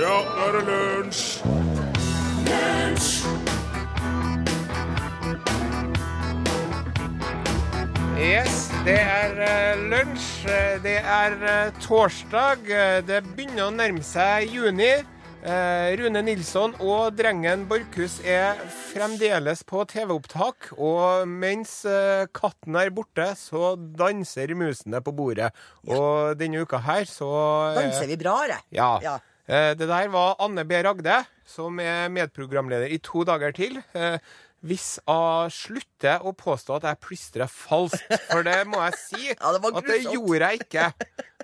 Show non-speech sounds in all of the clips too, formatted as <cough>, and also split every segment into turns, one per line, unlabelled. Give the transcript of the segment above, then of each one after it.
Ja, nå er det lunsj!
Yes, det er eh, lunsj. Eh, Det er eh, torsdag. Eh, Det begynner å nærme seg juni. Eh, Rune Nilsson og drengen Borchhus er fremdeles på TV-opptak. Og mens eh, katten er borte, så danser musene på bordet. Og denne uka her så eh,
Danser vi bra, eller?
ja.
Ja.
Eh, Det der var Anne B. Ragde, som er medprogramleder i to dager til. Eh, Hvis jeg slutter å påstå at jeg plystrer falskt, for det må jeg si
<laughs> Ja, det var
at det
grusomt.
gjorde jeg ikke.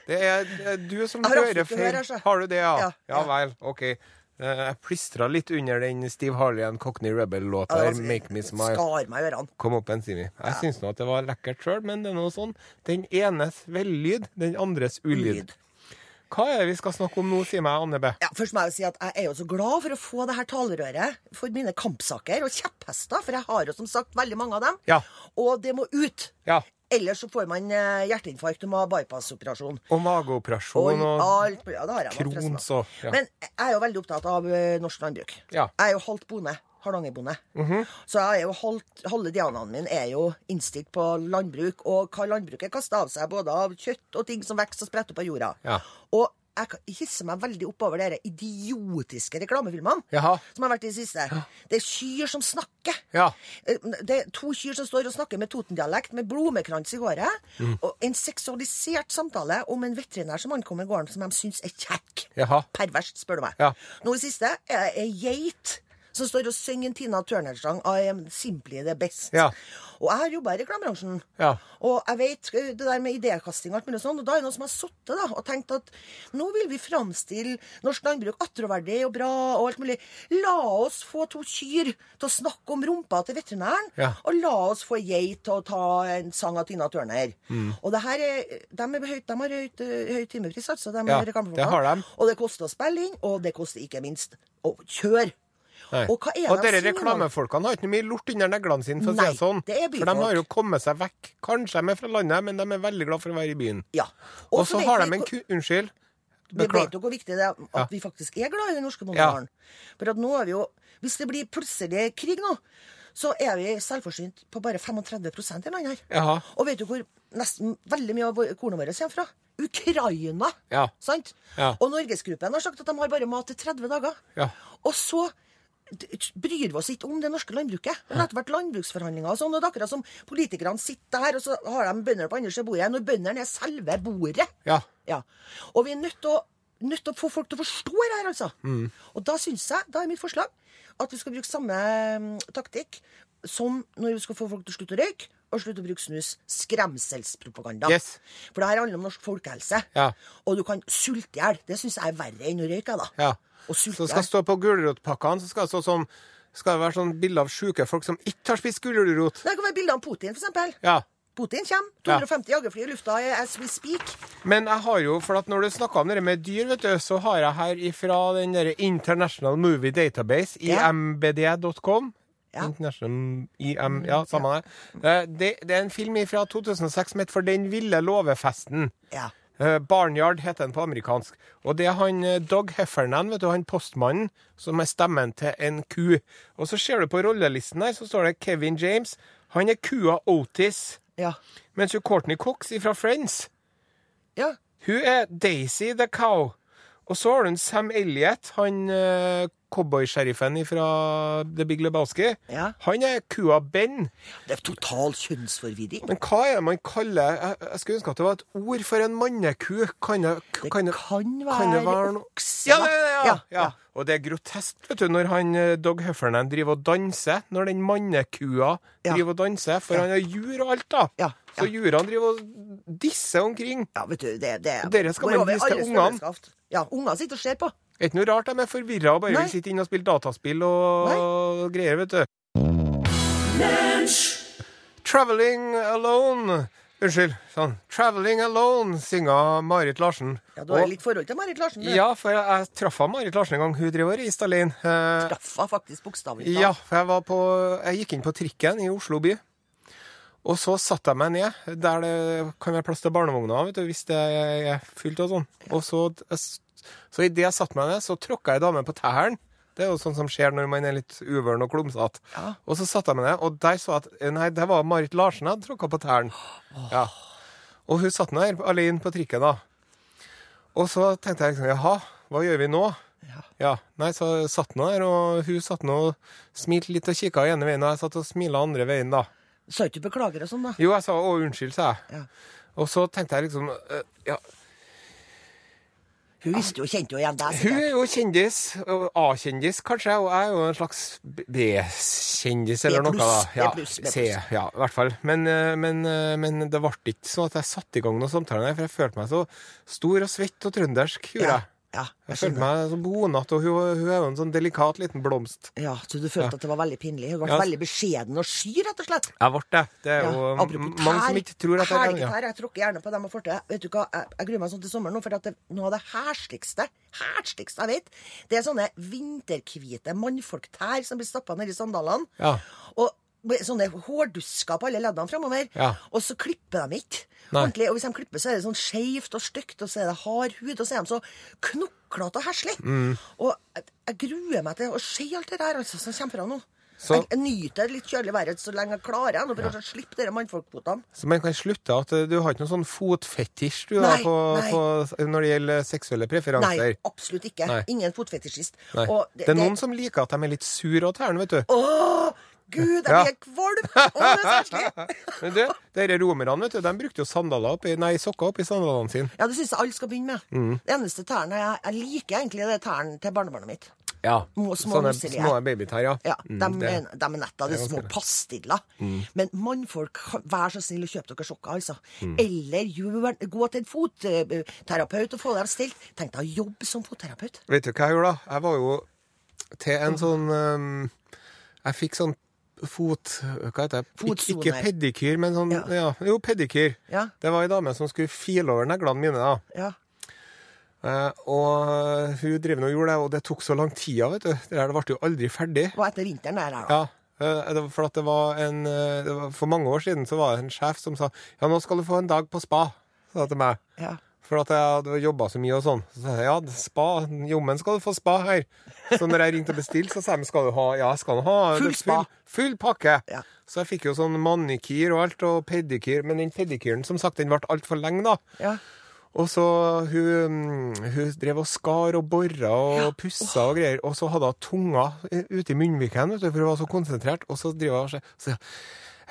Det er det er du som
Jeg har absolutt
hører
ikke hørt,
feil.
altså.
Har du det, ja?
Ja,
Ja
ja.
vel, OK. Eh, Jeg plystra litt under den Steve Harley and Cockney Rebel-låta her,
Ja, det var så-
'Make Me Smile'.
Skar meg i ørene.
Kom opp en simi. Jeg syns nå at det var lekkert sjøl, men det er noe sånn den enes vellyd, den andres ulyd.
Ulyd.
Hva er det vi skal snakke om nå, sier meg Anne B.
Ja, først må jeg jo si at jeg er jo så glad for å få det her talerøret for mine kampsaker og kjepphester, for jeg har jo som sagt veldig mange av dem.
Ja.
Og det må ut.
Ja.
Ellers så får man eh, hjerteinfarkt og må ha bypassoperasjon.
Og
Og Ah.
mageoperasjon og
alt Ja, det har jeg. nå,
Crohns
forresten, da.
og- ja.
Men jeg er jo veldig opptatt av eh, norsk landbruk.
Ja. Mhm.
Jeg er jo halvt bonde. Hardangerbonde. Så jeg er jo halvt, halve dianaen min er jo innstilt på landbruk, og hva landbruket kaster av seg, både av kjøtt og ting som vokser og spretter på jorda.
Ja.
Og jeg kan- hisser meg veldig opp over de idiotiske reklamefilmene
Jaha.
som har vært i det siste. Det er kyr som snakker.
Ja.
Eh, Det er to kyr som står og snakker med Toten-dialekt, med blomekrans i håret. Og en seksualisert samtale om en veterinær som ankommer gården, som de syns er kjekk.
Jaha.
Perverst, spør du meg.
Ja.
Nå i siste er det ei geit som står og synger en Tina Turner-sang I am simply the best.
Ja.
Og jeg har jobba i reklamebransjen.
Ja.
Og jeg vet eh, det der med idékasting og alt mulig sånn, og da er det noen som har sittet da, og tenkt at nå vil vi framstille norsk landbruk attråverdig og bra og alt mulig. La oss få to kyr til å snakke om rumpa til veterinæren,
Ja.
og la oss få ei geit til å ta en sang av Tina Turner.
Mm.
Og det her er, de, er høyt, de har høyt, eh, høy timepris, altså. De
Ja,
er reklamefolkene.
det har de.
Og det koster å spille inn, og det koster ikke minst å kjøre.
Nei.
Og hva er
og
det
dere
de sier nå?
reklamefolkene har ikke mye lort under neglene sine, for å si
Nei,
det sånn.
det er byfolk.
For de har jo kommet seg vekk. Kanskje de er fra landet, men de er veldig glad for å være i byen.
Ja.
Og så
vet
har
vi
de en
hvor-
ku... Unnskyld.
Vi vet
Beklager.
jo hvor viktig det er at
Ja.
vi faktisk er glad i den norske bondegården. For at nå er vi jo Hvis det blir plutselig krig nå, så er vi selvforsynt på bare 35 i landet her.
Jaha.
Og vet du hvor nesten veldig mye av vår- kornet vårt kommer fra? Ukraina.
Ja.
Sant?
Ja.
Og Norgesgruppen har sagt at de har bare mat til 30 dager.
Ja.
Og så d- bryr vi oss ikke om det norske landbruket. Det har vært landbruksforhandlinger og sånn, og det er akkurat som politikerne sitter her, og så har de bønder på andre siden av bordet, når bøndene er selve bordet.
Ja.
Ja. Og vi er nødt til å nødt til å få folk til å forstå det her, altså.
Mm.
Og da syns jeg, da er mitt forslag, at vi skal bruke samme mm, taktikk som når vi skal få folk til å slutte å røyke og slutte å bruke snus. Skremselspropaganda.
Yes.
For det her handler om norsk folkehelse.
Ja.
Og du kan sulte i hjel. Det syns jeg er verre enn å røyke, da.
Ja.
Og
Så
sulte i
skal det
hjel.
stå på gulrotpakkene, så skal det stå som skal det være sånn bilde av sjuke folk som ikke har spist gulrot.
Det kan være bilder av Putin, for eksempel.
Ja.
Putin kommer. 250 jagerfly i lufta as we speak.
Men jeg har jo, for at når du snakker om det med dyr, vet du, så har jeg her ifra den der International Movie Database,
Ja.
imbd.com.
Ja. Mm,
International IM, ja, samme det. Eh, det. Det er en film fra 2006 som heter For den ville lovefesten.
Ja.
Eh, Barnyard heter den på amerikansk. Og det er han eh, Doug Heffernan, vet du, han postmannen, som er stemmen til en ku. Og så ser du på rollelisten her, så står det Kevin James. Han er kua Otis.
Ja.
Mens jo Courtney Cox fra Friends,
Ja.
hun er Daisy the Cow. Og så har du en Sam Elliot, han eh, cowboysheriffen fra The Big Lebowski.
Ja.
Han er kua Ben.
Det er total kjønnsforvirring.
Men hva er det man kaller Jeg, jeg skulle ønske at det var et ord for en manneku. Kan det, kan
Det kan
det,
være,
kan det være noe
okse,
ja,
da.
det, ja, ja, ja. Og det er grotesk vet du, når han, eh, Dog Heffernan driver og danser. Når den mannekua
Ja.
driver og danser. For han har jur og alt, da.
Ja,
Så
ja.
jurene driver og disser omkring.
Ja, vet du, det, det
Og dere skal
går
man
over
vise til
alles
ungene.
medlemskaft. Ja, ungene sitter og ser på.
Det er ikke noe rart de er forvirra og bare
Nei.
vil sitte inne og spille dataspill og greier, vet du. Traveling Alone Unnskyld. sånn. Traveling Alone synger Marit Larsen.
Ja, Du har
Og-
litt forhold til Marit Larsen. du.
Ja, for jeg, jeg traff av Marit Larsen en gang. Hun driver og reiste alene. Eh,
Gaffa faktisk bokstavelig talt.
ja, for jeg, var på, jeg gikk inn på trikken i Oslo by. Og så satte jeg meg ned der det kan være plass til barnevogna vet du, hvis det er fullt og sånn. Og så d- jeg s- Så idet jeg satte meg ned, så tråkka ei dame på tærne. Det er jo sånn som skjer når man er litt uvøren og klumsete. Og så satte jeg meg ned, og der så jeg at Nei, det var Marit Larsen jeg hadde tråkka på tærne. Ja. Og hun satt nå her alene på trikken, da. Og så tenkte jeg liksom Jaha, hva gjør vi nå?
Ja.
Nei, så satt hun der, og hun satt nå og smilte litt og kikka ene veien, og jeg satt og smila andre veien, da.
Sa ikke du beklager og sånn, da?
Jo, jeg sa å, unnskyld, sa jeg.
Ja.
Og så tenkte jeg liksom eh, ja,
Hun visste jo, kjente jo igjen deg.
Hun
sikkert.
er jo kjendis. og A-kjendis, kanskje. Og jeg er jo en slags B- B-kjendis eller noe.
B+,
da. Ja,
B+, B+.
C, ja, i hvert fall. Men, eh, men, eh, men det ble ikke sånn at jeg satte i gang noen samtaler, der, for jeg følte meg så stor og svett og trøndersk. gjorde
Ja,
jeg.
ja, jeg
Jeg følte meg
skjønner.
så bonete, og hun, hun er jo en sånn delikat liten blomst.
Ja, Så du følte at det var veldig pinlig? Hun ble
Ja.
veldig beskjeden og sky, rett og slett?
Jeg ble det. Det er
Ja,
jo
apropos
m- mange som ikke tror at jeg kan ja.
Helgetær, jeg tråkker gjerne på dem og får til. Vet du hva, jeg, jeg gruer meg sånn til sommeren nå, for at det, noe av det hersligste, hersligste jeg vet, det er sånne vinterhvite mannfolktær som blir stappa nedi sandalene.
Ja.
Og med sånne hårdusker på alle leddene framover.
Ja.
Og så klipper de ikke.
Nei.
Ordentlig, og hvis de klipper, så er det sånn skeivt og stygt, og så er det hard hud, og så er de så knoklete og heslige.
Mm.
Og jeg, jeg gruer meg til å se alt det der altså, som kommer fra nå.
Så-
Jeg, jeg nyter litt kjølig været så lenge jeg klarer. Jeg, nå for å slippe de mannfolkkvotene.
Så man kan slutte at eh, du har ikke noen sånn fotfetisj du, da,
Nei,
på,
nei.
på, når det gjelder seksuelle preferanser.
Nei, absolutt ikke.
Nei.
Ingen fotfetisjist.
Nei.
Og
det, er noen som liker at de er litt sure av tærne, vet du.
Gud, jeg
Ja.
blir helt kvalm! Å, det er så herselig!
<laughs> Men du, dere romerne, vet du, de brukte jo sandaler oppi, nei, sokker oppi sandalene sine.
Ja, det syns jeg alle skal begynne med.
Mm.
Det eneste tærne jeg, jeg liker, egentlig, det er tærne til barnebarnet mitt.
Ja.
Små- små
Sånne
musselige.
små babytær, ja.
Ja,
Mm,
de,
det.
er- de er netta, de
er
små
ganske det. Mm.
pastiller. Men mannfolk, vær så snill å kjøpe dere sokker, altså.
Mm.
Eller gjør- gå til en fotterapeut og få dem stilt. Tenk deg å jobbe som fotterapeut.
Vet du hva jeg gjorde da? Jeg var jo til en sånn ehm, Jeg fikk sånn fot... Hva heter det? Ikke,
Fotsone.
ikke pedikyr, men sånn
Ja.
ja. Jo, pedikyr.
Ja.
Det var ei dame som skulle file over neglene mine. da.
Ja.
Eh, og hun drev nå og gjorde det, og det tok så lang tid, vet du. Det her ble jo aldri ferdig.
Og etter vinteren der, her, da.
Ja, eh, det var for at det var en eh, det var, For mange år siden så var det en sjef som sa Ja, nå skal du få en dag på spa, sa han til meg.
Ja.
For at jeg hadde jobba så mye og sånn. Så sa jeg ja, spa, jommen skal du få spa her. Så når jeg ringte og bestilte, så sa de skal du ha Ja, skal du ha
Full spa.
Full pakke.
Ja.
Så jeg fikk jo sånn manikyr og alt, og pedikyr. Men den pedikyren, som sagt, den ble altfor lenge, da.
Ja.
Og så hun, mm, hun drev og skar og bora og pussa og greier, og så hadde hun tunga eh, ute i munnviken, vet du, for hun var så konsentrert, og så driver hun og skjer- så sier hun,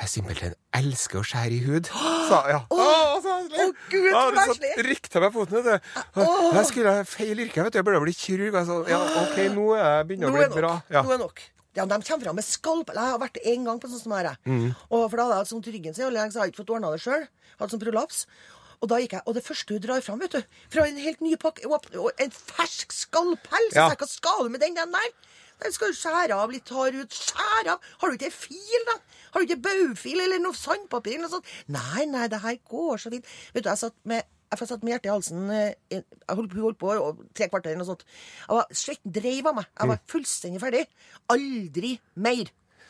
jeg simpelthen elsker å skjære i hud, sa hun, ja. Åh, så heslig!
Å, Gud, så Ah, heslig!
rikta meg foten, vet du. Jeg skulle ha feil yrke, vet du, jeg burde bli kirurg. Jeg sa, ja, ok, nå er jeg begynner
Nå
å
er
bli
nok.
bra. Ja.
Nå er nok. Ja, De kommer fram med skalp. Eller, Jeg har vært en gang på sånn som dette. Og for da hadde jeg hatt sånt i ryggen, så jeg hadde jeg ikke fått ordna det sjøl. Hatt sånn prolaps. Og da gikk jeg, og det første hun drar fram, vet du, fra en helt ny pakke, og og en fersk skalpell Så
Ja.
sa jeg, hva skal du med den, den der? Den skal jo skjære av litt hard hud. Skjære av! Har du ikke en fil, da? Har du ikke en baufil eller noe sandpapir eller noe sånt? Nei, nei, det her går så fint. Vet du, jeg satt med jeg satt med hjertet i halsen eh, i- Jeg holdt, holdt på og tre kvarter eller noe sånt. Jeg var, Svetten dreiv av meg. Jeg
Mm.
var fullstendig ferdig. Aldri mer.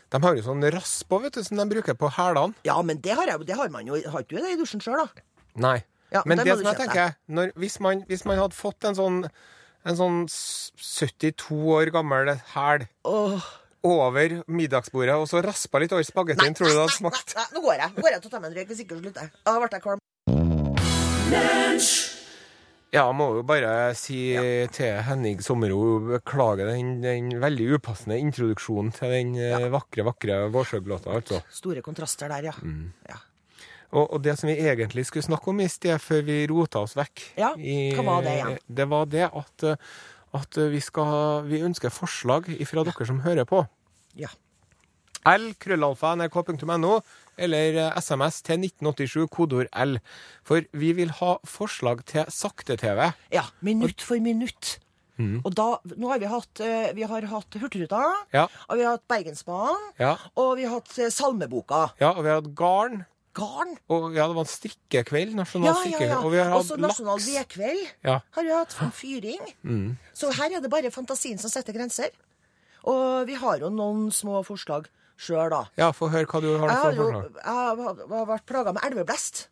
De har jo sånn rasp også, vet du, som de bruker på hælene.
Ja, men det har, jeg, jo- det har man jo. Har ikke du det i dusjen sjøl, da?
Nei.
Ja,
men
den
det
må du
som jeg
kjøpe.
tenker er, når, hvis, man, hvis man hadde fått en sånn, en sånn s- 72 år gammel hæl
Åh.
over middagsbordet, og så raspa litt over spagettien, tror du det hadde smakt?
Nei, nei, nå går jeg. Nå går jeg til å ta meg en røyk, hvis ikke så slutter jeg. Da ble jeg kvalm.
Ja, jeg må jo bare si til Henning Sommero, beklager den, den veldig upassende introduksjonen til den eh, vakre, vakre Vårsøg-låta, altså.
Store kontraster der, ja.
Mm.
ja.
Og, og det som vi egentlig skulle snakke om i sted, før vi rota oss vekk
Ja,
i-
hva var det igjen?
Det var det at, eh, at vi, skal, vi ønsker forslag fra dere som hører på.
ja.
L, krøllalfa, nrk.no, eller eh, SMS til 1987, kodord L. For vi vil ha forslag til sakte-TV.
Ja, minutt for minutt.
Mhm.
Og da, nå har vi hatt, eh, vi har hatt Hurtigruta,
Ja.
og vi har hatt Bergensbanen,
Ja.
og vi har hatt eh, Salmeboka.
Ja, og vi har hatt garn.
Garn.
Og ja, det var en strikkekveld. Nasjonal
Ja, ja,
strikkekveld.
ja.
Og vi har hatt
Også Nasjonal
laks.
vedkveld
Ja. Mm.
har vi hatt. Fyring. Så her er det bare fantasien som setter grenser. Og vi har jo noen små forslag sjøl, da.
Ja, få høre hva du har
Jeg
for
har jo
forslag.
jeg har, har vært plaga med elveblest.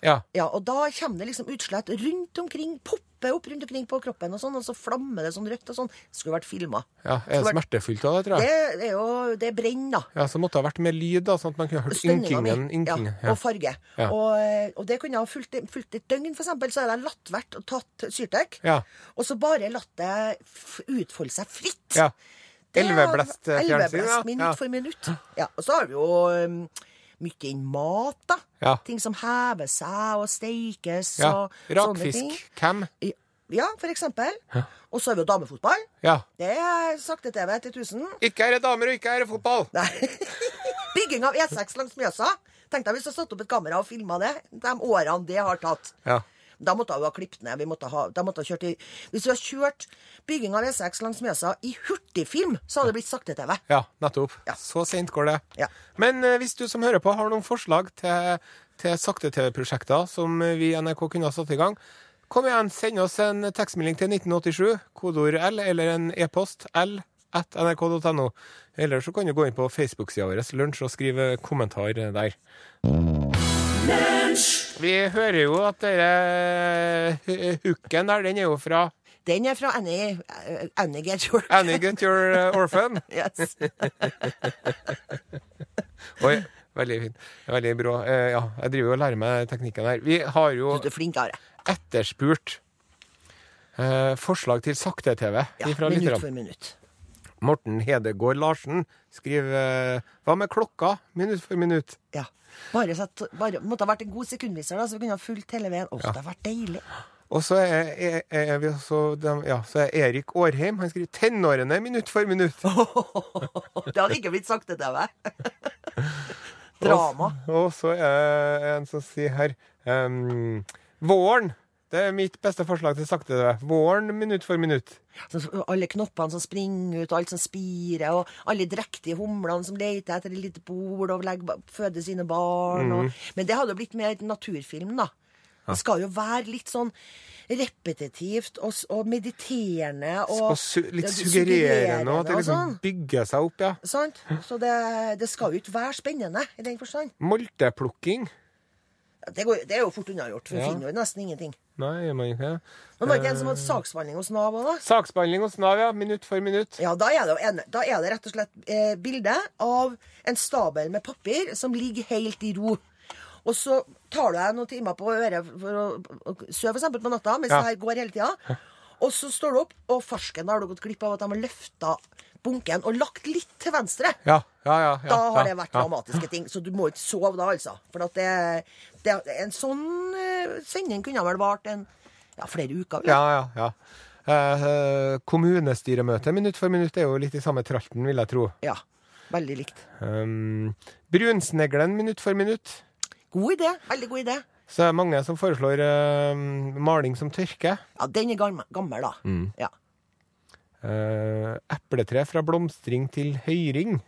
Ja.
Ja, og da kommer det liksom utslett rundt omkring. Popper popper opp rundt omkring på kroppen, og sånn, og så flammer det sånn rødt og sånn. Skulle vært filma.
Ja, Er det smertefullt av det, tror jeg?
Det er jo Det brenner, da.
Ja, Så måtte det ha vært med lyd, da, sånn at man kunne hørt
Stønninga
inkingen.
mi.
inkingen.
Ja, og farge.
Ja.
Og, og det kunne jeg ha fulgt, fulgt et døgn, for eksempel. Så hadde jeg latt vært å tatt syrtek,
Ja.
og så bare latt det f- utfolde seg fritt.
Ja.
Det er
Elveblest-fjernsyn,
elveblest
ja.
minutt for minutt. Ja, og så har vi jo um, mye inn mat, da.
Ja.
Ting som hever seg og steikes
ja.
og sånne ting.
Rakfisk. Hvem?
I- Ja, for eksempel. Og så har vi jo damefotball.
Ja.
Det er sakte-TV til 1000.
Ikke er det damer, og ikke er det fotball. <laughs>
Nei. Bygging av E6 langs Mjøsa. Tenk deg hvis jeg satte opp et kamera og filma det de årene det har tatt.
Ja.
Da måtte hun ha klippet ned. Vi måtte ha, da måtte hun ha kjørt i, hvis du har kjørt bygging av E6 langs Mjøsa i hurtigfilm, så hadde det blitt sakte-TV.
Ja, nettopp.
Ja.
Så seint går det.
Ja.
Men eh, hvis du som hører på har noen forslag til, til sakte-TV-prosjekter som eh, vi i NRK kunne ha satt i gang, kom igjen, send oss en tekstmelding til 1987, kodeord L, eller en e-post L at nrk.no. Eller så kan du gå inn på Facebook-sida vår Lunsj og skrive kommentar der. Vi hører jo at denne hooken der, den er jo fra
Den er fra Annie, eh, Annie Get Your
Annie Get Your Orphan.
Yes.
Oi, veldig fint. Veldig bra. Eh, ja, jeg driver jo og lærer meg teknikken her. Vi har jo
Du er flink, Are.
etterspurt eh, forslag til sakte-TV
Ja,
fra
minutt for
lytterne.
minutt.
Morten Hedegård Larsen skriver eh, Hva med klokka? Minutt for minutt.
Ja. Bare, satt, bare måtte ha vært en god sekundviser, da, så vi kunne ha fulgt hele veien. Åh, det har vært deilig. <laughs>
Og så er, er, er vi også dem- ja, så er Erik Årheim Han skriver 'Tenårene minutt for
<laughs>
minutt'.
Det hadde ikke blitt
<laughs>
sakte-TV. Drama.
Og så er det en som sier her ehm, 'Våren'. Det er mitt beste forslag til sakte-TV. Våren minutt for minutt.
Så alle knoppene som springer ut, og alt som spirer, og alle drektige humlene som leter etter et lite bord og legger, føder sine barn.
Mhm.
Og, men det hadde jo blitt mer naturfilm, da. Det skal jo være litt sånn repetitivt og, s- og mediterende og,
Og su litt
ja,
suggererende, og at det
og
liksom
sånn.
bygger seg opp, ja.
Sant? Så det, det skal jo ikke være spennende i den forstand.
Molteplukking.
Det, går, det er jo fort unnagjort, for vi
Ja.
finner jo nesten ingenting.
Nei, gjør man ikke.
Men var det ikke en som hadde saksbehandling hos Nav òg, da?
Saksbehandling hos Nav, ja. Minutt for minutt.
Ja, da er det, jo en, da er det rett og slett eh, bilde av en stabel med papir som ligger helt i ro. Og så tar du deg noen timer på øret for å, å sove for eksempel på natta, mens
Ja.
det her går hele tida. Og så står du opp, og farsken, da har du gått glipp av at de har løfta bunken og lagt litt til venstre.
Ja, ja, ja. ja
Da har
ja,
det vært
ja.
dramatiske ting, så du må ikke sove da, altså. For at det, det, en sånn eh, sending kunne vel vart en ja, flere uker. vel?
Ja, ja, ja. Eh, eh, kommunestyremøte minutt for minutt er jo litt i samme tralten, vil jeg tro.
ja. Veldig likt.
Um, brunsneglen minutt for minutt.
God idé. Veldig god idé.
Så er det mange som foreslår eh, maling som tørke.
Ja, den er gammel, gammel da. Ja.
Eh, epletre fra blomstring til høyring.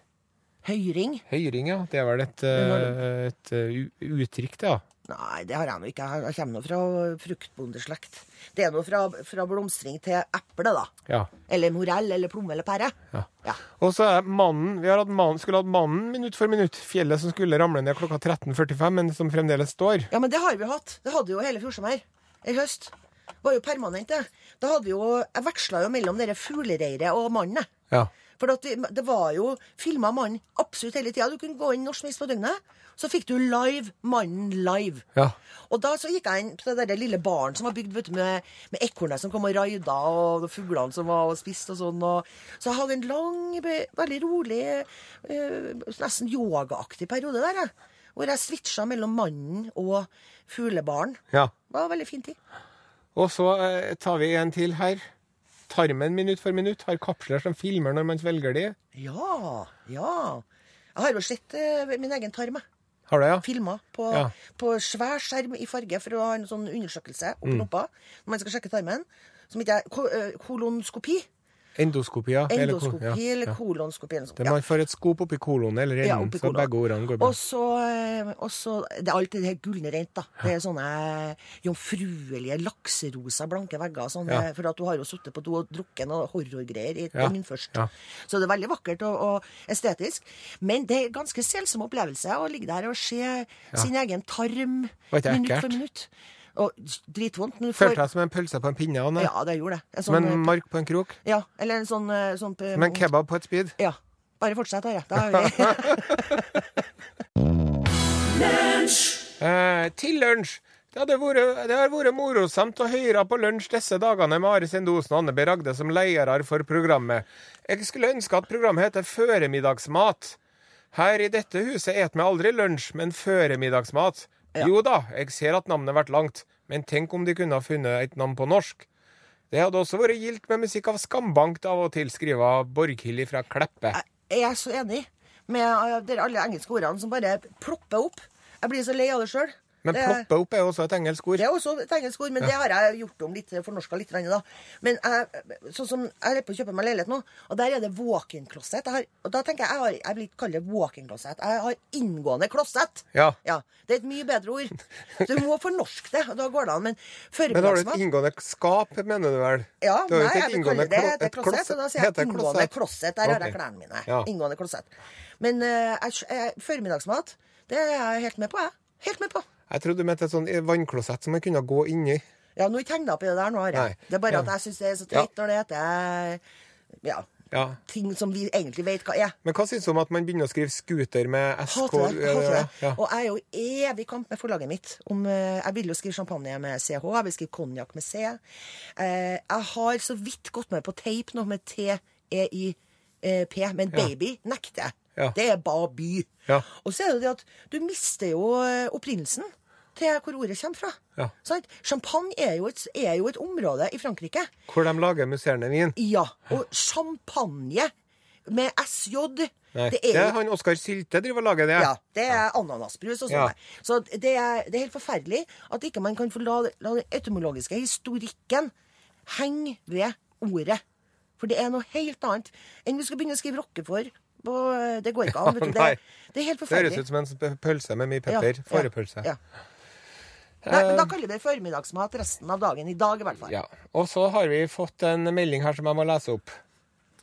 Høyring?
Høyring, ja. Det er vel et, eh, et eh, u- uttrykk, det, ja.
Nei, det har jeg nå ikke. Jeg kommer nå fra fruktbondeslekt. Det er nå fra, fra blomstring til eple, da.
ja.
Eller morell, eller plomme, eller pære.
Ja.
Ja.
Og så er mannen Vi har hatt mannen, skulle hatt mannen minutt for minutt. Fjellet som skulle ramle ned klokka 13.45, men som fremdeles står.
Ja, men det har vi jo hatt. Det hadde jo hele Fjordsommer i høst. Det var jo permanent, det. Da hadde vi jo Jeg veksla jo mellom dere fuglereiret og mannen, jeg.
Ja.
For at vi, det var jo filma mannen absolutt hele tida. Du kunne gå inn når som helst på døgnet. Så fikk du live mannen live.
Ja.
Og da så gikk jeg inn på det der lille baren som var bygd vet du, med, med ekornet som kom og raida, og fuglene som var og spiste og sånn. Og, så jeg hadde en lang, be- veldig rolig, eh, nesten yogaaktig periode der, jeg. Hvor jeg switcha mellom mannen og fuglebaren.
ja.
Det var en veldig fin tid.
Og så eh, tar vi en til her. Tarmen minutt for minutt har kapsler som filmer når man svelger de.
Ja, ja. Jeg har jo sett eh, min egen tarm, jeg.
Har du, ja?
filma på,
Ja.
på svær skjerm i farge for å ha en sånn undersøkelse opp loppa når man skal sjekke tarmen. Som ikke er ko- eh, kolonskopi.
Endoskopi, ja. Eller ko-
Endoskopi
ja.
eller kolonskopi. Eller noe sånt.
Det er
Ja.
Man får et skop oppi kolonen eller
Ja,
enden,
oppi
så
kolonen.
begge ordene går bra.
Og så, eh, og så det er Alt det her gulne rent, da. Det er sånne eh, jomfruelige, lakserosa, blanke vegger. Sånne,
Ja.
For at du har jo sittet på do og drukket noe horrorgreier i
Ja,
ja. først.
ja.
Så det er veldig vakkert og, og estetisk. Men det er en ganske selsom opplevelse å ligge der og se sin egen tarm
Var ikke det
minutt
ekkelt?
for minutt. Og dritvondt. Men du får
Følte deg som en pølse på en pinne. Anne.
Ja, det gjorde det. En
som en
sånn,
mark på en krok.
ja, eller en sånn, eh, sånn p-
Som en kebab på et spyd.
Ja. Bare fortsett, Are. Da er vi <laughs>
Eh, til lunsj! Det, hadde vært, det har vært morosamt å høre på lunsj disse dagene med Are Sendosen og Anne B. Ragde som ledere for programmet. Jeg skulle ønske at programmet heter Føremiddagsmat. Her i dette huset et vi aldri lunsj, men føremiddagsmat. Jo da, jeg ser at navnet har vært langt, men tenk om de kunne ha funnet et navn på norsk. Det hadde også vært gildt med musikk av Skambankt av og til, skriver Borghild fra Kleppe.
Jeg er så enig med eh, dere alle engelske ordene som bare plopper opp. Jeg blir så lei av det sjøl.
Men ploppe opp er jo også et engelsk ord.
Det er også et engelsk ord, men det har jeg gjort om litt, fornorska litt. grann, Da. Men jeg, sånn som jeg holder på å kjøpe meg leilighet nå, og der er det walk-in-klosett. Jeg har- Og da tenker jeg jeg, har, jeg vil ikke kalle det walk-in-klosett. Jeg har inngående klosett.
Ja.
Det er et mye bedre ord. Så Du må fornorske det, og da går det an.
<laughs> Men
Men
har du et
føremiddagsmat
inngående skap, mener du vel?
altså. ja,
Du har jo
nei,
ikke et
jeg vil kalle
inngående
det
klo-
heter
et
klosett, og da sier
Heter
jeg inngående
klosett.
klosett. Der har jeg
Ok.
klærne mine.
Ja.
Inngående klosett. Men eh, jeg, jeg, førmiddagsmat, det er jeg helt med på, jeg. Helt med på.
Jeg trodde du mente et sånn vannklosett som man kunne gå inni.
Ja, nå tegner jeg opp i det der nå, Are.
Nei.
Det er bare
Ja.
at jeg syns det er så
Ja.
teit når det heter ja,
Ja.
ting som vi egentlig vet hva er.
Men hva syns du om at man begynner å skrive scooter med SK?
Hater det. hater det.
Ja.
Og jeg er jo i evig kamp med forlaget mitt. Om, eh, jeg vil jo skrive champagne med CH, jeg vil skrive konjakk med C. Eh, jeg har så vidt gått med på tape nå, med T-E-I-P, men baby nekter jeg.
Ja.
Det er baby.
Ja.
Og så er det jo det at du mister jo eh, opprinnelsen til hvor ordet kommer fra.
Ja.
Sant? Champagne er jo, et, er jo et område i Frankrike
Hvor de lager musserende vin.
Ja, og champagne med SJ.
Nei.
Det
Det
er
er
jo
han Oskar Sylte driver og lager det.
ja, det er ananasbrus og sånn.
Ja.
der. Så det er, det er helt forferdelig at ikke man kan få la, la den etymologiske historikken henge ved ordet. For det er noe helt annet enn vi skal begynne å skrive rockefor. på- Det går ikke an.
<laughs>
vet du.
Nei.
Det, det er helt
Det høres
forferdelig.
ut som en sp- pølse med mye pepper. Fårepølse.
Ja. Nei, men
Eh.
da kaller vi det formiddagsmat resten av dagen. I dag, i hvert fall.
Ja. Og så har vi fått en melding her som jeg må lese opp.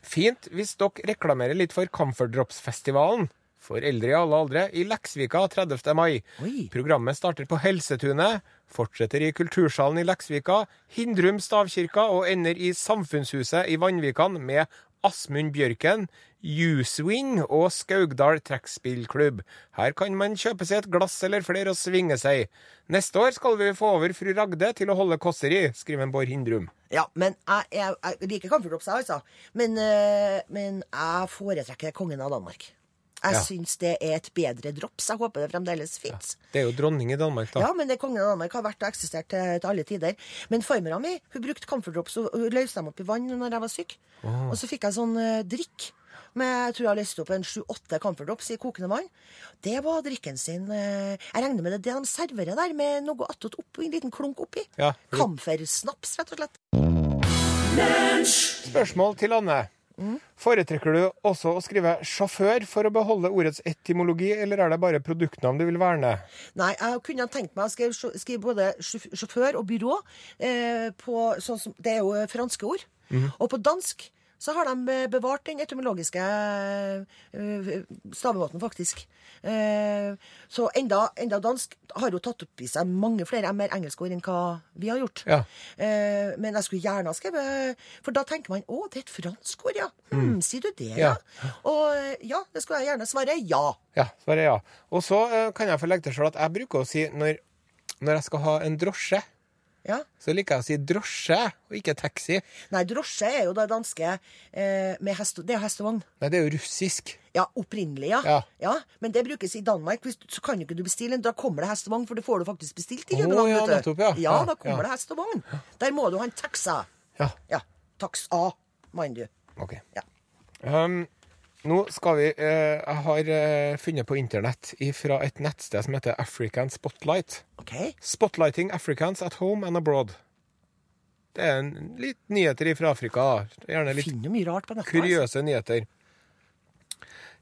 Fint hvis dere reklamerer litt for Comfort Drops-festivalen. For eldre i alle aldre i Leksvika 30. mai.
Oi.
Programmet starter på Helsetunet, fortsetter i Kultursalen i Leksvika, Hindrum stavkirka og ender i Samfunnshuset i Vanvikan med Asmund Bjørken, U-Swing og Skaugdal trekkspillklubb. Her kan man kjøpe seg et glass eller flere og svinge seg. Neste år skal vi få over fru Ragde til å holde kåseri, skriver Bård Hindrum.
Ja, men jeg, jeg, jeg liker Comfort jeg altså. Men, eh, men jeg foretrekker kongen av Danmark. Jeg
Ja.
syns det er et bedre drops. Jeg håper det fremdeles fins.
Det er jo dronning i Danmark, da.
Ja, men det kongen av Danmark har vært og eksistert til, til alle tider. Men farmora mi hun brukte Comfort Drops og hun løste dem opp i vann når jeg var syk. Og så fikk jeg sånn eh, drikk. Men jeg tror jeg løste opp en sju-åtte Comfort Drops i kokende vann. Det var drikken sin. eh, Jeg regner med det er det de serverer der, med noe attåt oppi, en liten klunk oppi.
Ja.
Kamfersnaps, rett og slett.
Spørsmål til Anne. Foretrekker du også å skrive 'sjåfør' for å beholde ordets etymologi, eller er det bare produktnavn du vil verne?
Nei, jeg kunne ha tenkt meg å skrive, skrive både sjåf- sjåfør og byrå. Eh, på, sånn som, det er jo franske ord. Og på dansk så har de eh, bevart den etymologiske eh, stavemåten, faktisk. Eh, så enda, enda dansk har jo tatt opp i seg mange flere mer engelske ord enn hva vi har gjort.
Ja.
Eh, men jeg skulle gjerne ha skrevet eh, For da tenker man 'Å, det er et fransk ord, ja'. Hm, sier du det, ja?
Ja.
Og eh, ja, det skulle jeg gjerne svare ja.
Ja, svaret er ja. Og så eh, kan jeg få legge til sjøl at jeg bruker å si når, når jeg skal ha en drosje,
ja.
så liker jeg å si drosje, og ikke taxi.
Nei, drosje er jo det danske eh, med hest, Det er jo hestevogn.
Nei, det er jo russisk.
Ja, opprinnelig, ja.
Ja.
Men det brukes i Danmark. Hvis, du- så kan jo ikke du bestille en. Da kommer det hestevogn, for det får du faktisk bestilt i
Å,
København.
ja,
vet du.
nettopp, ja.
ja,
Ja,
da
ja.
kommer det hestevogn. Der må du ha en taxa.
Ja,
Ja. Tax A, mener du.
OK.
Ja.
Um, nå skal vi eh, Jeg har eh, funnet på internett fra et nettsted som heter African Spotlight.
OK.
Spotlighting Africans at home and abroad. Det er en, litt nyheter fra Afrika. da. Gjerne litt
Finner jo mye rart på nettet. altså.
kuriøse nyheter.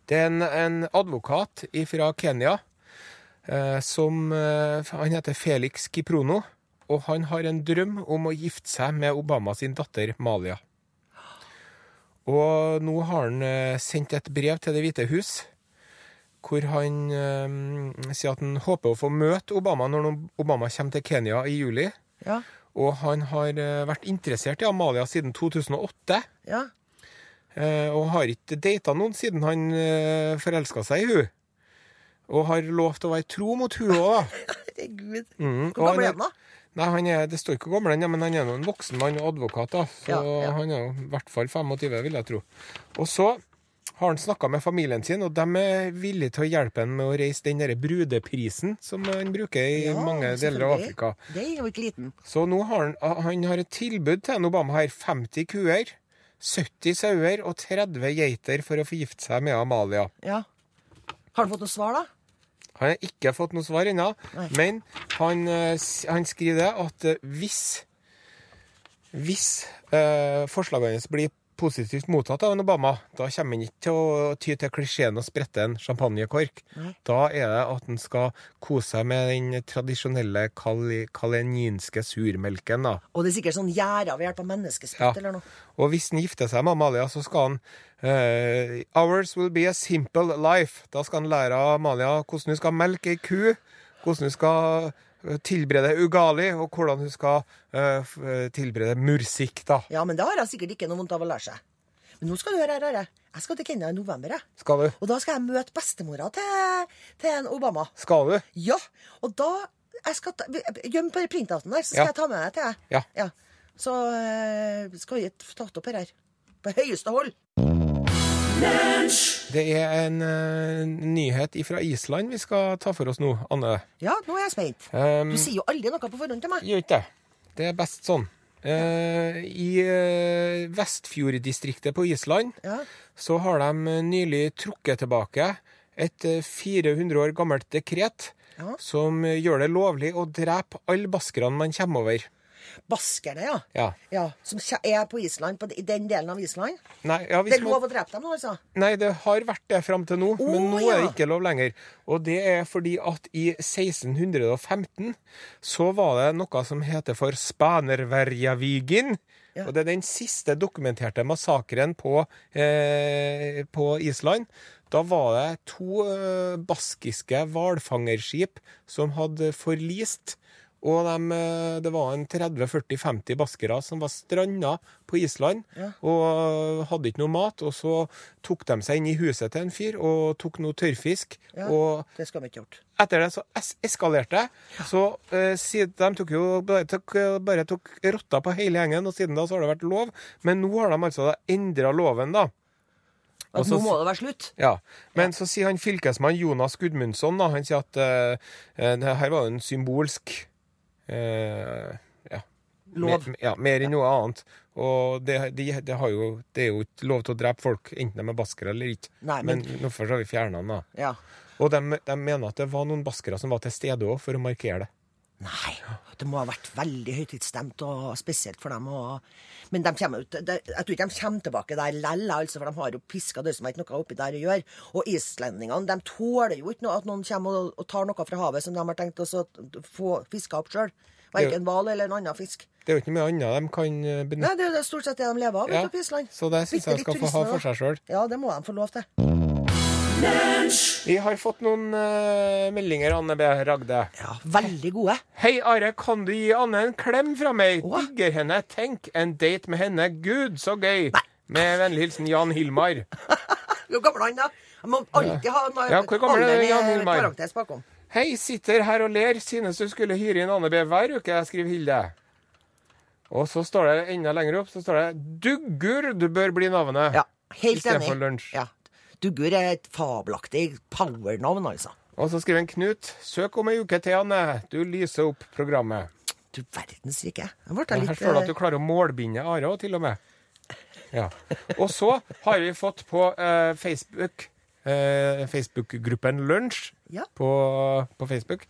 Det er en, en advokat fra Kenya eh, som eh, Han heter Felix Kiprono, og han har en drøm om å gifte seg med Obama sin datter Malia. Og nå har han eh, sendt et brev til Det hvite hus hvor han eh, sier at han håper å få møte Obama når Obama kommer til Kenya i juli.
altså. Ja.
Og han har eh, vært interessert i Amalia siden 2008,
ja.
eh, og har ikke data noen siden han eh, forelska seg i hun. Og har lovt å være tro mot hun òg,
<laughs>
da.
Herregud.
Mm,
Hvor
og
gammel er han, da?
Nei, han er, Det står ikke hvor gammel han er, men han er nå en voksen mann og advokat, da. Så
Ja, ja.
han er jo i hvert fall 25, vil jeg tro. Og så har han snakka med familien sin, og de er villige til å hjelpe han med å reise den derre brudeprisen som han bruker i
Ja,
mange deler av
selvfølgelig.
Afrika.
Det er jo ikke liten.
Så nå har han, han har et tilbud til en Obama her. 50 kuer, 70 sauer og 30 geiter for å få gifte seg med Amalia.
Ja. Har du fått noe svar, da?
Han har ikke fått noe svar ennå,
Nei.
men han, eh, s- han skriver det at eh, hvis Hvis eh, forslagene hans blir positivt mottatt av en Obama, da kommer han ikke til å ty til klisjeen og sprette en champagnekork.
Nei.
Da er det at han skal kose seg med den tradisjonelle kali, kaleninske surmelken, da.
Og det er sikkert sånn gjerder ved hjelp av menneskespytt
Ja.
eller noe.
Og hvis han gifter seg med Amalia, så skal han eh, Ours will be a simple life. Da skal han lære av Amalia hvordan hun skal melke ei ku, hvordan hun skal eh, tilberede ugali, og hvordan hun skal eh, f- eh, tilberede mursikk, da.
Ja, men det har jeg sikkert ikke noe vondt av å lære seg. Men nå skal du høre her, Are. Jeg skal til Kenya i november, jeg.
Skal du?
Og da skal jeg møte bestemora til, til en Obama.
Skal du?
Ja, og da jeg skal ta, Gjem på den printouten der, så skal
Ja.
jeg ta med deg til deg.
Ja.
Så eh, skal vi få tatt opp her her. På høyeste hold.
Det er en eh, nyhet fra Island vi skal ta for oss nå, Anne.
Ja, nå er jeg spent.
Um,
Du sier jo aldri noe på forhånd til meg.
Gjør ikke det. Det er best sånn. Eh, I eh, Vestfjorddistriktet på Island
Ja.
så har de eh, nylig trukket tilbake et eh, 400 år gammelt dekret
Ja.
som eh, gjør det lovlig å drepe alle baskerne man kommer over.
Baskerne, ja.
Ja.
Ja, Som kje- er på Island, på de- i den delen av Island.
Nei, ja,
Det
hvis
er
man,
lov å drepe dem nå, altså?
nei, det har vært det fram til nå, men
Å,
nå er det
ja.
ikke lov lenger. Og det er fordi at i 1615 så var det noe som heter for Spanerverjavigen.
Ja.
Og det er den siste dokumenterte massakren på, eh, på Island. Da var det to eh, baskiske hvalfangerskip som hadde forlist. Og dem, eh, det var en 30-40-50 baskere som var stranda på Island
Ja.
og øh, hadde ikke noe mat. Og så tok de seg inn i huset til en fyr og tok noe tørrfisk.
Ja.
Og
Det skal vi ikke gjort.
etter det så es eskalerte det. Så eh, siden, de tok jo bare tok, øh, bare tok rotta på hele gjengen, og siden da så har det vært lov. Men nå har de altså endra loven, da. Og
At
så
nå må det være slutt.
Ja, Men så sier han fylkesmann Jonas Gudmundsson da, han sier at eh, eh, det her var jo en symbolsk eh, ja,
Lov.
Mer, ja, mer enn noe annet. Og det, de, det, har jo, det er jo ikke lov til å drepe folk, enten de er baskere eller ikke.
Nei, men-
men... nå får vi fjerna den, da.
Ja.
Og de, de mener at det var noen baskere som var til stede òg, for å markere det.
Nei, det må ha vært veldig høytidsstemt, og spesielt for dem. Og... Men de kommer, ut, de, jeg tror ikke de kommer tilbake der lell, altså, for de har jo piska det som har ikke noe oppi der å gjøre. Og islendingene de tåler jo ikke noe, at noen kommer og, og tar noe fra havet som de har tenkt også å få fiska opp sjøl. Verken hval eller en annen fisk.
Det er jo ikke mye annet de kan eh, benytte.
Nei, Det er jo det stort sett det de lever av
Ja,
ute på Island.
så det synes jeg
Bitte
de
litt
skal få ha
turisme,
for
da.
seg selv.
Ja, det må de få lov til.
Vi har fått noen eh, meldinger, Anne B. Ragde.
Ja, Veldig gode.
Hei, Are, kan du gi Anne en klem fra meg?
Hva?
Digger henne. Tenk, en date med henne. Gud, så gøy. Med vennlig hilsen Jan Hilmar.
Hvor gammel er han, da? Han må alltid ha en
Ja, hvor gammel er
alderen
Jan Hilmar?
parentes bakom.
Hei, sitter her og ler. Synes du skulle hyre inn Anne B hver uke, jeg skriver Hilde. Og så står det enda lenger opp, så står det Duggur, du bør bli navnet.
Ja, helt
I stedet
enig.
for lunsj.
Ja. Duggur er et fabelaktig powernavn, altså.
Og så skriver en Knut Søk om ei uke til, Anne. Du lyser opp programmet.
Du verdens rike. Jeg ble
Her
litt
står det at du
eh,
klarer å målbinde Are òg, til og med. Ja. Og så har vi fått på eh, Facebook eh, Facebook-gruppen Lunsj
Ja.
på, på Facebook.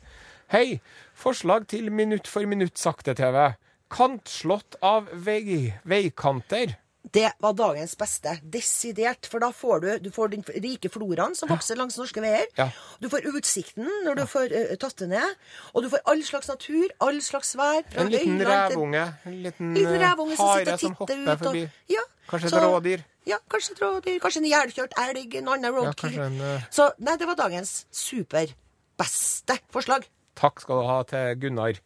Hei! Forslag til minutt for minutt-sakte-TV. Kantslått av vei, veikanter.
Det var dagens beste. Desidert. For da får du, du får den rike floraen som vokser langs norske veier.
Ja.
Du får utsikten når du får eh, tatt det ned. Og du får all slags natur, all slags vær. fra
En liten
øyland til-
rævunge. En liten,
Liten
eh,
rævunge som sitter og titter ut. Og, ja,
Kanskje et
Så-
rådyr.
Ja, kanskje et rådyr. Kanskje en ihjelkjørt elg, en annen roadkill.
kanskje en, eh,
Så nei, det var dagens superbeste forslag.
Takk skal du ha til Gunnar.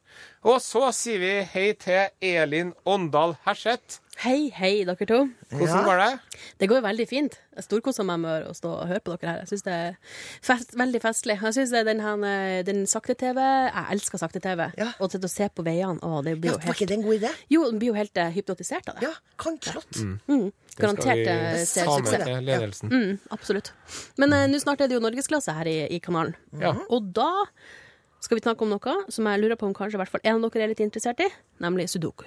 Og så sier vi hei til Elin Åndal Herseth.
Hei, hei, dere to.
Hvordan
Ja.
går det?
Det går veldig fint. Jeg storkoser meg med å stå og høre på dere her. Jeg syns det er fest, veldig festlig. Jeg synes det er den, her, eh, den sakte-TV Jeg elsker sakte-TV.
Ja.
Og til å se på veiene. Å, det
Ja,
blir jo
var ikke
helt
det en god idé?
Jo, den blir jo helt eh, hypnotisert av det.
Ja, kanslott.
Mm.
Garantert
Det
eh, se
skal vi ta
suksess.
med til ledelsen.
Mm, absolutt. Men eh, nå snart er det jo norgesklasse her i, i kanalen.
Ja.
Mhm.
Og da skal vi snakke om noe som jeg lurer på om kanskje i hvert fall en av dere er litt interessert i, nemlig sudoku.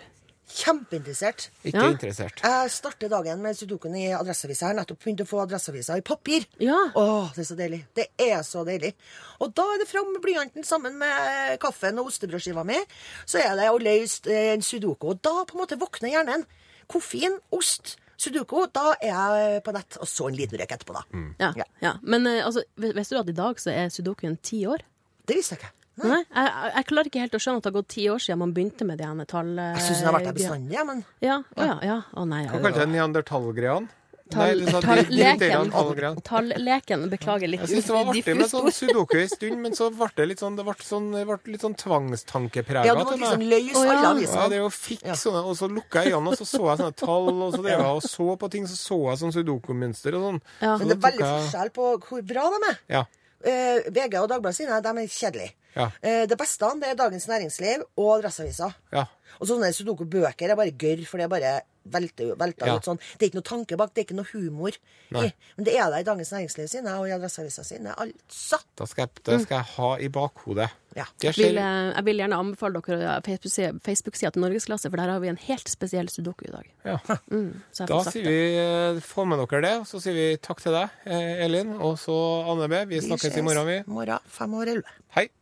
Kjempeinteressert.
Ikke
Ja.
interessert.
Jeg starter dagen med sudokuen i Adresseavisa. Jeg har nettopp begynt å få Adresseavisa i papir.
Ja.
Åh, det er så deilig. Det er så deilig. Og da er det fram med blyanten sammen med kaffen og ostebrødskiva mi. Så er det å løse eh, en sudoku. Og da på en måte våkner hjernen. Koffein, ost, sudoku. Da er jeg på nett. Og så en liten røyk etterpå, da.
Mm.
Ja,
Ja.
ja. Men eh, altså, vis- visste du at i dag så er sudokuen ti år?
Det visste jeg ikke. Nei.
Nei, jeg, jeg- jeg klarer ikke helt å skjønne at det har gått ti år siden man begynte med de ene tall... eh,
Jeg syns den har vært der bestandig, jeg, men
Ja, å ja, ja. Å nei, ja,
Hva
ja.
kalte du neandertalgreiene? Nei,
Tall-
du sa
tall-
de- de- de-
leken.
tallgreiene.
Tall-leken. Beklager litt.
Jeg syns det var artig med
diffust
sånn
ord.
sudoku en stund, men så ble det litt sånn, det ble sånn, det ble litt sånn tvangstankeprega.
ja, du måtte
til meg.
liksom løse
Å, ja.
alle
Ja,
avisene.
det er jo fikk sånne, og så lukka jeg øynene, og så så jeg sånne tall, og så drev jeg og så på ting, så så jeg sånn sudoku-mønster og sånn.
Ja.
Så
Men det
da
er
tok
veldig
jeg-
forskjell på hvor bra de er.
Ja.
Eh, VG og Dagbladet sine de er kjedelige.
Ja.
Eh, det beste det er Dagens Næringsliv og Adresseavisa.
Ja.
Og sånne sudoku-bøker er bare gørr, for det er bare velta, velta
Ja.
ut sånn. Det er ikke noe tanke bak, det er ikke noe humor.
Nei.
i. Men det er det i Dagens Næringsliv sine og i Adresseavisa sine. Altså.
Da skal jeg, det skal jeg ha i bakhodet.
Ja.
Det
Mm. Vil,
skjer.
eh, jeg vil gjerne anbefale dere eh, Facebook-sida Facebook-sida til Norgesklasse, for der har vi en helt spesiell sudoku i dag. Mm,
Ja.
Så jeg
Da
får sagt
sier
det.
vi eh, få med dere det, og så sier vi takk til deg, eh, Elin, og så Anne B. Vi snakkes i morgen, vi.
Morgen fem over elleve.
Hei.